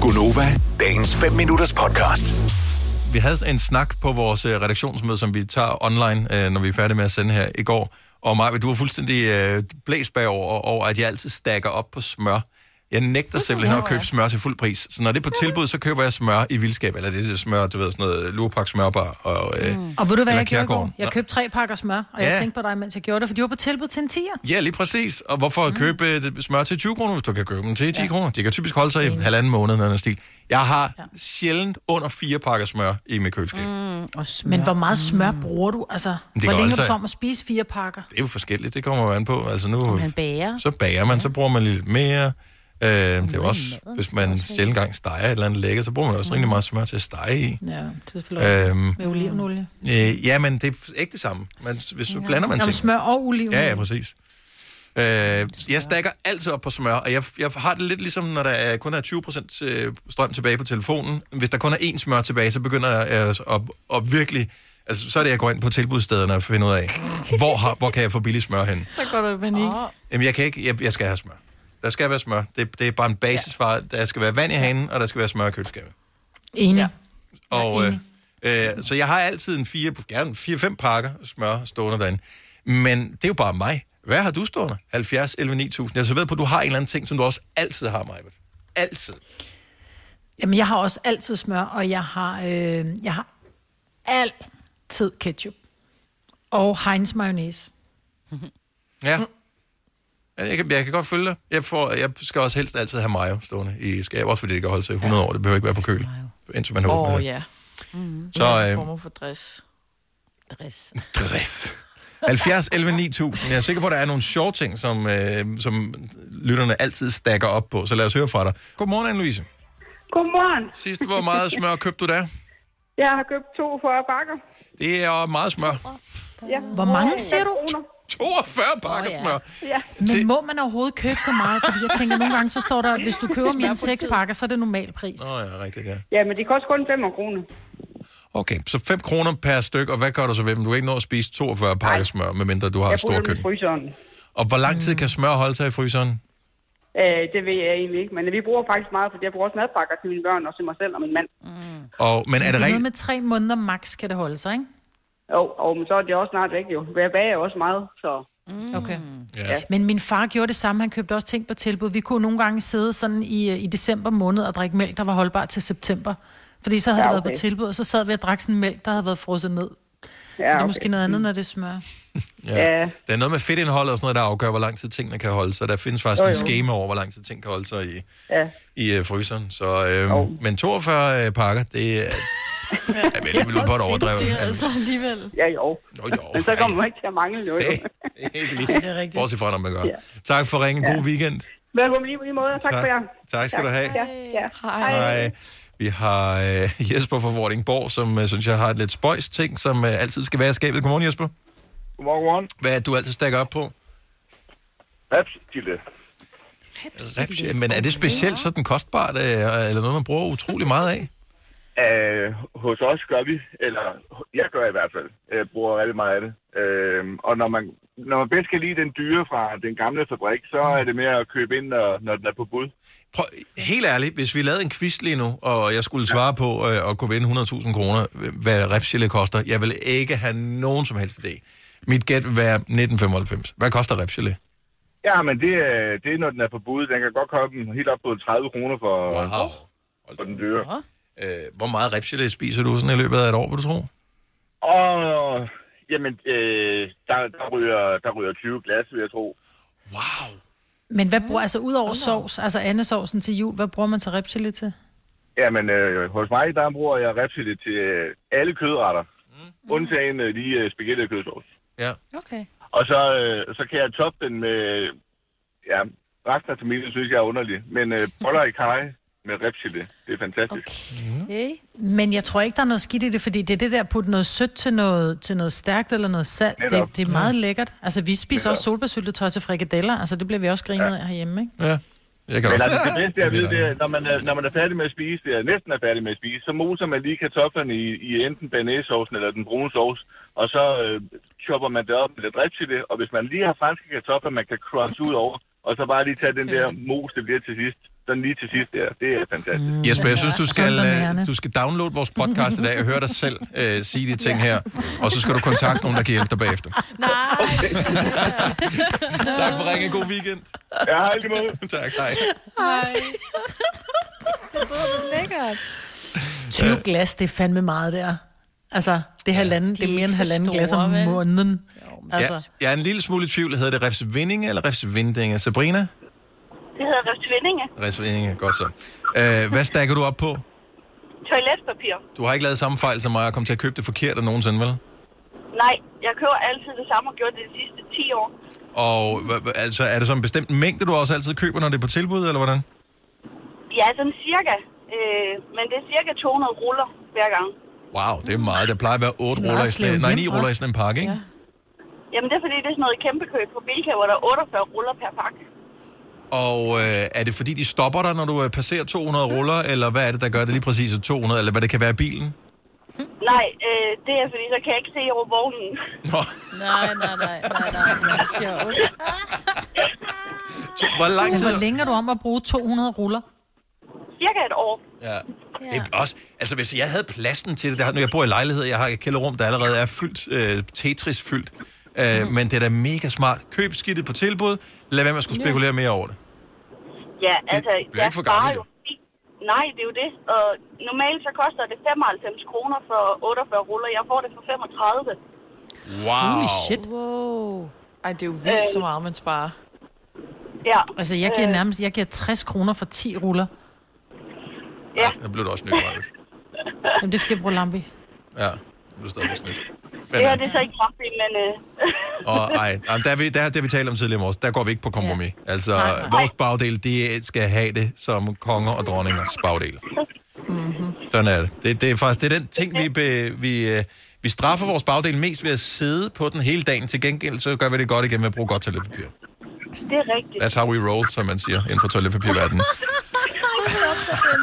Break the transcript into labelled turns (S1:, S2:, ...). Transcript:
S1: Gunova, dagens 5 minutters podcast.
S2: vi havde en snak på vores øh, redaktionsmøde, som vi tager online, øh, når vi er færdige med at sende her i går. Og Maja, du var fuldstændig øh, blæst bagover, over, at jeg altid stakker op på smør. Jeg nægter simpelthen at købe smør til fuld pris. Så når det er på tilbud, så køber jeg smør i vildskab. Eller det er smør, du ved, sådan noget lurpak smørbar. Og, øh, mm.
S3: Og ved du, hvad
S2: Eller
S3: jeg gjorde i går?
S2: Kærgården.
S3: Jeg købte tre pakker smør, og
S2: Ja.
S3: jeg tænkte på dig, mens jeg gjorde det, for de var på tilbud til en 10'er.
S2: Ja, lige præcis. Og hvorfor mm. købe øh, det- smør til 20 kroner, hvis du kan købe dem til 10 ja. kroner? Det kan typisk holde sig i halvanden måned, eller noget stil. Jeg har ja. sjældent under fire pakker smør i mit køleskab. Mm.
S4: Og smør.
S3: Men hvor meget smør bruger du? Altså,
S2: det
S3: hvor
S2: kan
S3: længe
S2: holde
S3: er du
S2: sig.
S3: så om at spise fire pakker?
S2: Det er jo forskelligt, det kommer jo an på. Altså nu,
S4: man bager.
S2: Så bager man, så bruger man lidt mere. Øh, det er jo også, hvis man sjældent gang steger et eller andet lækker, så bruger man også rigtig meget smør til at stege i.
S3: Ja, det er selvfølgelig øh,
S2: Øhm,
S3: med olivenolie.
S2: øh, ja, men det er ikke det samme. Man, hvis så blander man
S3: Nå, men
S2: ting.
S3: smør og olivenolie.
S2: Ja, ja, præcis. Øh, jeg stakker altid op på smør, og jeg, jeg har det lidt ligesom, når der er, kun er 20% øh, strøm tilbage på telefonen. Hvis der kun er én smør tilbage, så begynder jeg øh, at, at virkelig... Altså, så er det, jeg går ind på tilbudsstederne og finder ud af, hvor, har, hvor kan jeg få billig smør hen?
S4: Så går du i panik. Oh.
S2: Jamen, jeg kan ikke. Jeg, jeg skal have smør. Der skal være smør. Det, det er bare en basisvare. Ja. Der skal være vand i hanen, og der skal være smør i køleskabet.
S3: Enig. Ja.
S2: Og, øh, øh, så jeg har altid en fire, gerne fire-fem pakker smør stående derinde. Men det er jo bare mig. Hvad har du stående? 70, 11, 9000. Jeg er så ved på, at du har en eller anden ting, som du også altid har, Majbet. Altid.
S3: Jamen, jeg har også altid smør, og jeg har, øh, jeg har altid ketchup. Og Heinz mayonnaise.
S2: Ja. Ja, Jeg kan, jeg kan godt følge dig. Jeg, får, jeg skal også helst altid have mayo stående i skab, også fordi det kan holde sig i 100 år. Det behøver ikke være på køl, indtil man har
S4: Åh,
S2: åbnet
S4: oh,
S2: det.
S4: ja.
S2: Så, øh,
S4: Former for dress. Dress.
S2: Dress. 70, 11, 9000. Jeg er sikker på, at der er nogle sjove ting, som, øh, som lytterne altid stakker op på. Så lad os høre fra dig. Godmorgen, Anne-Louise.
S5: Godmorgen.
S2: Sidst, hvor meget smør købte du der?
S5: Jeg har købt 42 bakker.
S2: Det er meget smør.
S5: Ja.
S3: Hvor mange siger du?
S5: Kroner.
S2: 42 pakker
S4: Åh, ja.
S2: smør.
S5: Ja.
S3: Men må man overhovedet købe så meget? Fordi jeg tænker, nogle gange så står der, hvis du køber mere end seks pakker, så er det normal pris.
S2: Åh oh, ja, rigtigt, ja.
S5: ja, men det koster kun 5 kroner.
S2: Okay, så 5 kroner per styk, og hvad gør du så ved dem? Du kan ikke nå at spise 42 pakker smør, medmindre du har
S5: Jeg
S2: et
S5: bruger dem
S2: stort
S5: i
S2: køkken.
S5: fryseren.
S2: Og hvor lang tid kan smør holde sig i fryseren?
S5: Øh, det ved jeg egentlig ikke, men vi bruger faktisk meget, fordi jeg bruger også madpakker til mine børn og til mig selv og min mand.
S2: Og, men er det
S3: Det er noget
S2: rigtigt?
S3: med tre måneder max, kan det holde sig, ikke?
S5: Jo, og men så er det også snart væk jo. Jeg bager også meget, så...
S3: Okay.
S2: Ja.
S3: Men min far gjorde det samme. Han købte også ting på tilbud. Vi kunne nogle gange sidde sådan i, i december måned og drikke mælk, der var holdbar til september. Fordi så havde
S5: Ja,
S3: ja, okay. det
S5: okay.
S3: været på tilbud, og så sad vi og drak sådan mælk, der havde været frosset ned. Ja,
S5: Ja,
S3: okay. Det er
S5: okay.
S3: måske noget andet, når det smører.
S2: Ja.
S5: Ja.
S2: Der er noget med fedtindholdet og sådan noget, der afgør, hvor lang tid tingene kan holde sig. Der findes faktisk
S5: Jo,
S2: en
S5: jo.
S2: schema over, hvor lang tid ting kan holde sig i,
S5: Ja.
S2: i øh, fryseren. Så, øh, Men 42 øh, pakker, det er... Jamen, det vil du på et overdrevet.
S4: Sindssygt,
S2: Altså.
S4: altså alligevel.
S5: Ja, jo.
S2: Nå, jo,
S5: Men så kommer
S2: ej.
S5: man ikke til at mangle noget.
S2: Det er ikke lige. Bortset fra, når man gør. Tak for ringen. God weekend.
S5: Velkommen lige på lige måde, og tak, for jer.
S2: tak skal du have.
S5: Ja, ja.
S4: Hej.
S2: Hej. Vi har øh, Jesper fra Vordingborg, som øh, synes jeg har et lidt spøjs ting, som øh, altid skal være i skabet. Godmorgen, Jesper.
S6: Godmorgen, godmorgen.
S2: Hvad er det, du altid stakker op på?
S6: Rapsgilde.
S2: Raps, ja, men er det specielt sådan kostbart, øh, eller noget, man bruger utrolig meget af?
S6: Øh, hos os gør vi, eller jeg gør i hvert fald, jeg bruger rigtig meget af det. Øh, og når man, når man bedst kan lide den dyre fra den gamle fabrik, så er det med at købe ind, når, når den er på bud.
S2: Prøv, helt ærligt, hvis vi lavede en quiz lige nu, og jeg skulle svare på øh, at kunne vinde 100.000 kroner, øh, hvad repsgelé koster, jeg vil ikke have nogen som helst idé. Mit gæt vil være 1995. Hvad koster repsgelé?
S6: Ja, men det, er- det er, når den er på bud. Den kan godt komme helt op på 30 kroner for, wow.
S2: Hold
S6: for
S2: da.
S6: den dyre.
S2: Øh, hvor meget repsgelé spiser du sådan i løbet af et år, vil du tro?
S6: Og jamen, øh, der, der, ryger, der ryger 20 glas, vil jeg tro.
S2: Wow.
S3: Men hvad bruger, altså ud over sovs, altså andesovsen til jul, hvad bruger man til ribsgele til?
S6: Jamen, øh, hos mig, der bruger jeg repsille til øh, alle kødretter. Mm. Undtagen øh, lige øh, spaghetti og kødsovs.
S2: Ja.
S4: Okay.
S6: Og så, øh, så kan jeg toppe den med... Ja, resten af familien synes jeg er underlig. Men øh, boller i kaj med repsille, det er fantastisk. Okay.
S4: Hey.
S3: Men jeg tror ikke, der er noget skidt i det, fordi det er det der at putte noget sødt til noget, til noget stærkt eller noget salt. Det,
S6: Netop.
S3: det, er meget lækkert. Altså, vi spiser også solbærsyltetøj til frikadeller. Altså, det bliver vi også grinet af herhjemme, ikke?
S2: Ja. Jeg kan
S6: Men
S2: også.
S6: altså, det bedste jeg ved, det er,
S2: dejligt.
S6: når man er, når man er færdig med at spise, det er næsten er færdig med at spise, så moser man lige kartoflerne i, i enten banæssovsen eller den brune sovs, og så øh, chopper man det op med lidt repsille, og hvis man lige har franske kartofler, man kan crunche ud over, og så bare lige tage den der mos, det bliver til sidst. sådan lige til sidst der. Det er fantastisk. Mm.
S2: Jesper, jeg synes, du skal,
S3: Sundt og
S2: øh,
S3: nærende.
S2: du skal downloade vores podcast i dag og høre dig selv øh, sige de ting her. Og så skal du kontakte nogen, der kan hjælpe dig bagefter.
S4: Nej.
S2: Tak for ringen. God weekend.
S6: Ja, hej lige måde.
S2: tak, hej.
S4: Nej. Det var så lækkert.
S3: 20 glas, det er fandme meget der. Altså, det er halvanden, det er
S4: ikke
S3: mere end
S4: så
S3: halvanden
S4: store,
S3: glas om
S4: vel?
S3: måneden.
S2: Ja,
S3: Altså,
S2: jeg er en lille smule i tvivl. Hedder det Refs Vindinge eller Refs Vindinge? Sabrina?
S7: Det hedder Rift Vindinge.
S2: Refs Vindinge, godt så. Øh, hvad stakker du op på?
S7: Toiletpapir.
S2: Du har ikke lavet samme fejl som mig og kom til at købe det forkerte nogensinde, vel?
S7: Nej, jeg køber altid det samme og gjorde det de sidste 10 år.
S2: Og hva- hva- altså, er det så en bestemt mængde, du også altid køber, når det er på tilbud, eller hvordan?
S7: Ja, sådan cirka. Øh, men det er cirka 200 ruller hver gang.
S2: Wow, det er meget. Der plejer at være otte
S3: Det er
S2: ruller i
S3: meget
S2: sådan,
S3: slemt
S2: nej,
S3: hjem
S2: ni ruller i
S3: også.
S2: sådan en pakke, ikke?
S4: Ja.
S7: Jamen, det er fordi, det er sådan noget kæmpe køb på Bilka, hvor der er 48 ruller per pakke.
S2: Og øh, er det fordi, de stopper dig, når du øh, passerer 200 ruller, eller hvad er det, der gør det lige præcis at 200, eller hvad det kan være i bilen?
S7: Nej, øh, det er fordi, så kan jeg ikke se over vognen.
S2: Nå,
S4: Nej, nej, nej, nej, nej, nej. Sjovt.
S2: hvor lang
S3: men
S2: tid...
S3: hvor længe er du om at bruge 200 ruller?
S7: Cirka et år.
S2: Ja. Det er også, altså hvis jeg havde pladsen til det, der, når jeg bor i lejlighed, jeg har et kælderrum, der allerede er fyldt, øh, Tetris fyldt, øh, men det er da mega smart. Køb skidtet på tilbud, lad være med at skulle spekulere mere over det.
S7: Ja, altså,
S2: bliver ikke for gammelt, jo.
S7: fi- Nej, det er jo det. Og normalt så koster det 95 kroner for 48 ruller. Jeg får det for 35.
S3: Holy shit.
S4: Wow. Ej, det er jo vildt så meget, man sparer.
S7: Ja,
S3: Altså, jeg giver nærmest jeg giver 60 kroner for 10 ruller.
S7: ja.
S2: Der blev det også nyt, Marvitt.
S3: Jamen, det skal jeg bruge lampe
S2: Ja, det blev stadigvæk snydt. Men, øh,
S7: Det her
S2: ja,
S7: det er så ikke kraftigt, men... Øh,
S2: og, ej, jamen, der, er vi, der, der vi talte om tidligere i morges, der går vi ikke på kompromis. Altså, vores bagdel, de skal have det som konger og dronningers bagdel. Sådan er det. det. Det er faktisk det er den ting, vi, be, vi, øh, vi straffer vores bagdel mest ved at sidde på den hele dagen. Til gengæld, så gør vi det godt igen ved at bruge godt toiletpapir.
S7: det er rigtigt.
S2: That's how we roll, som man siger inden for toiletpapirverdenen.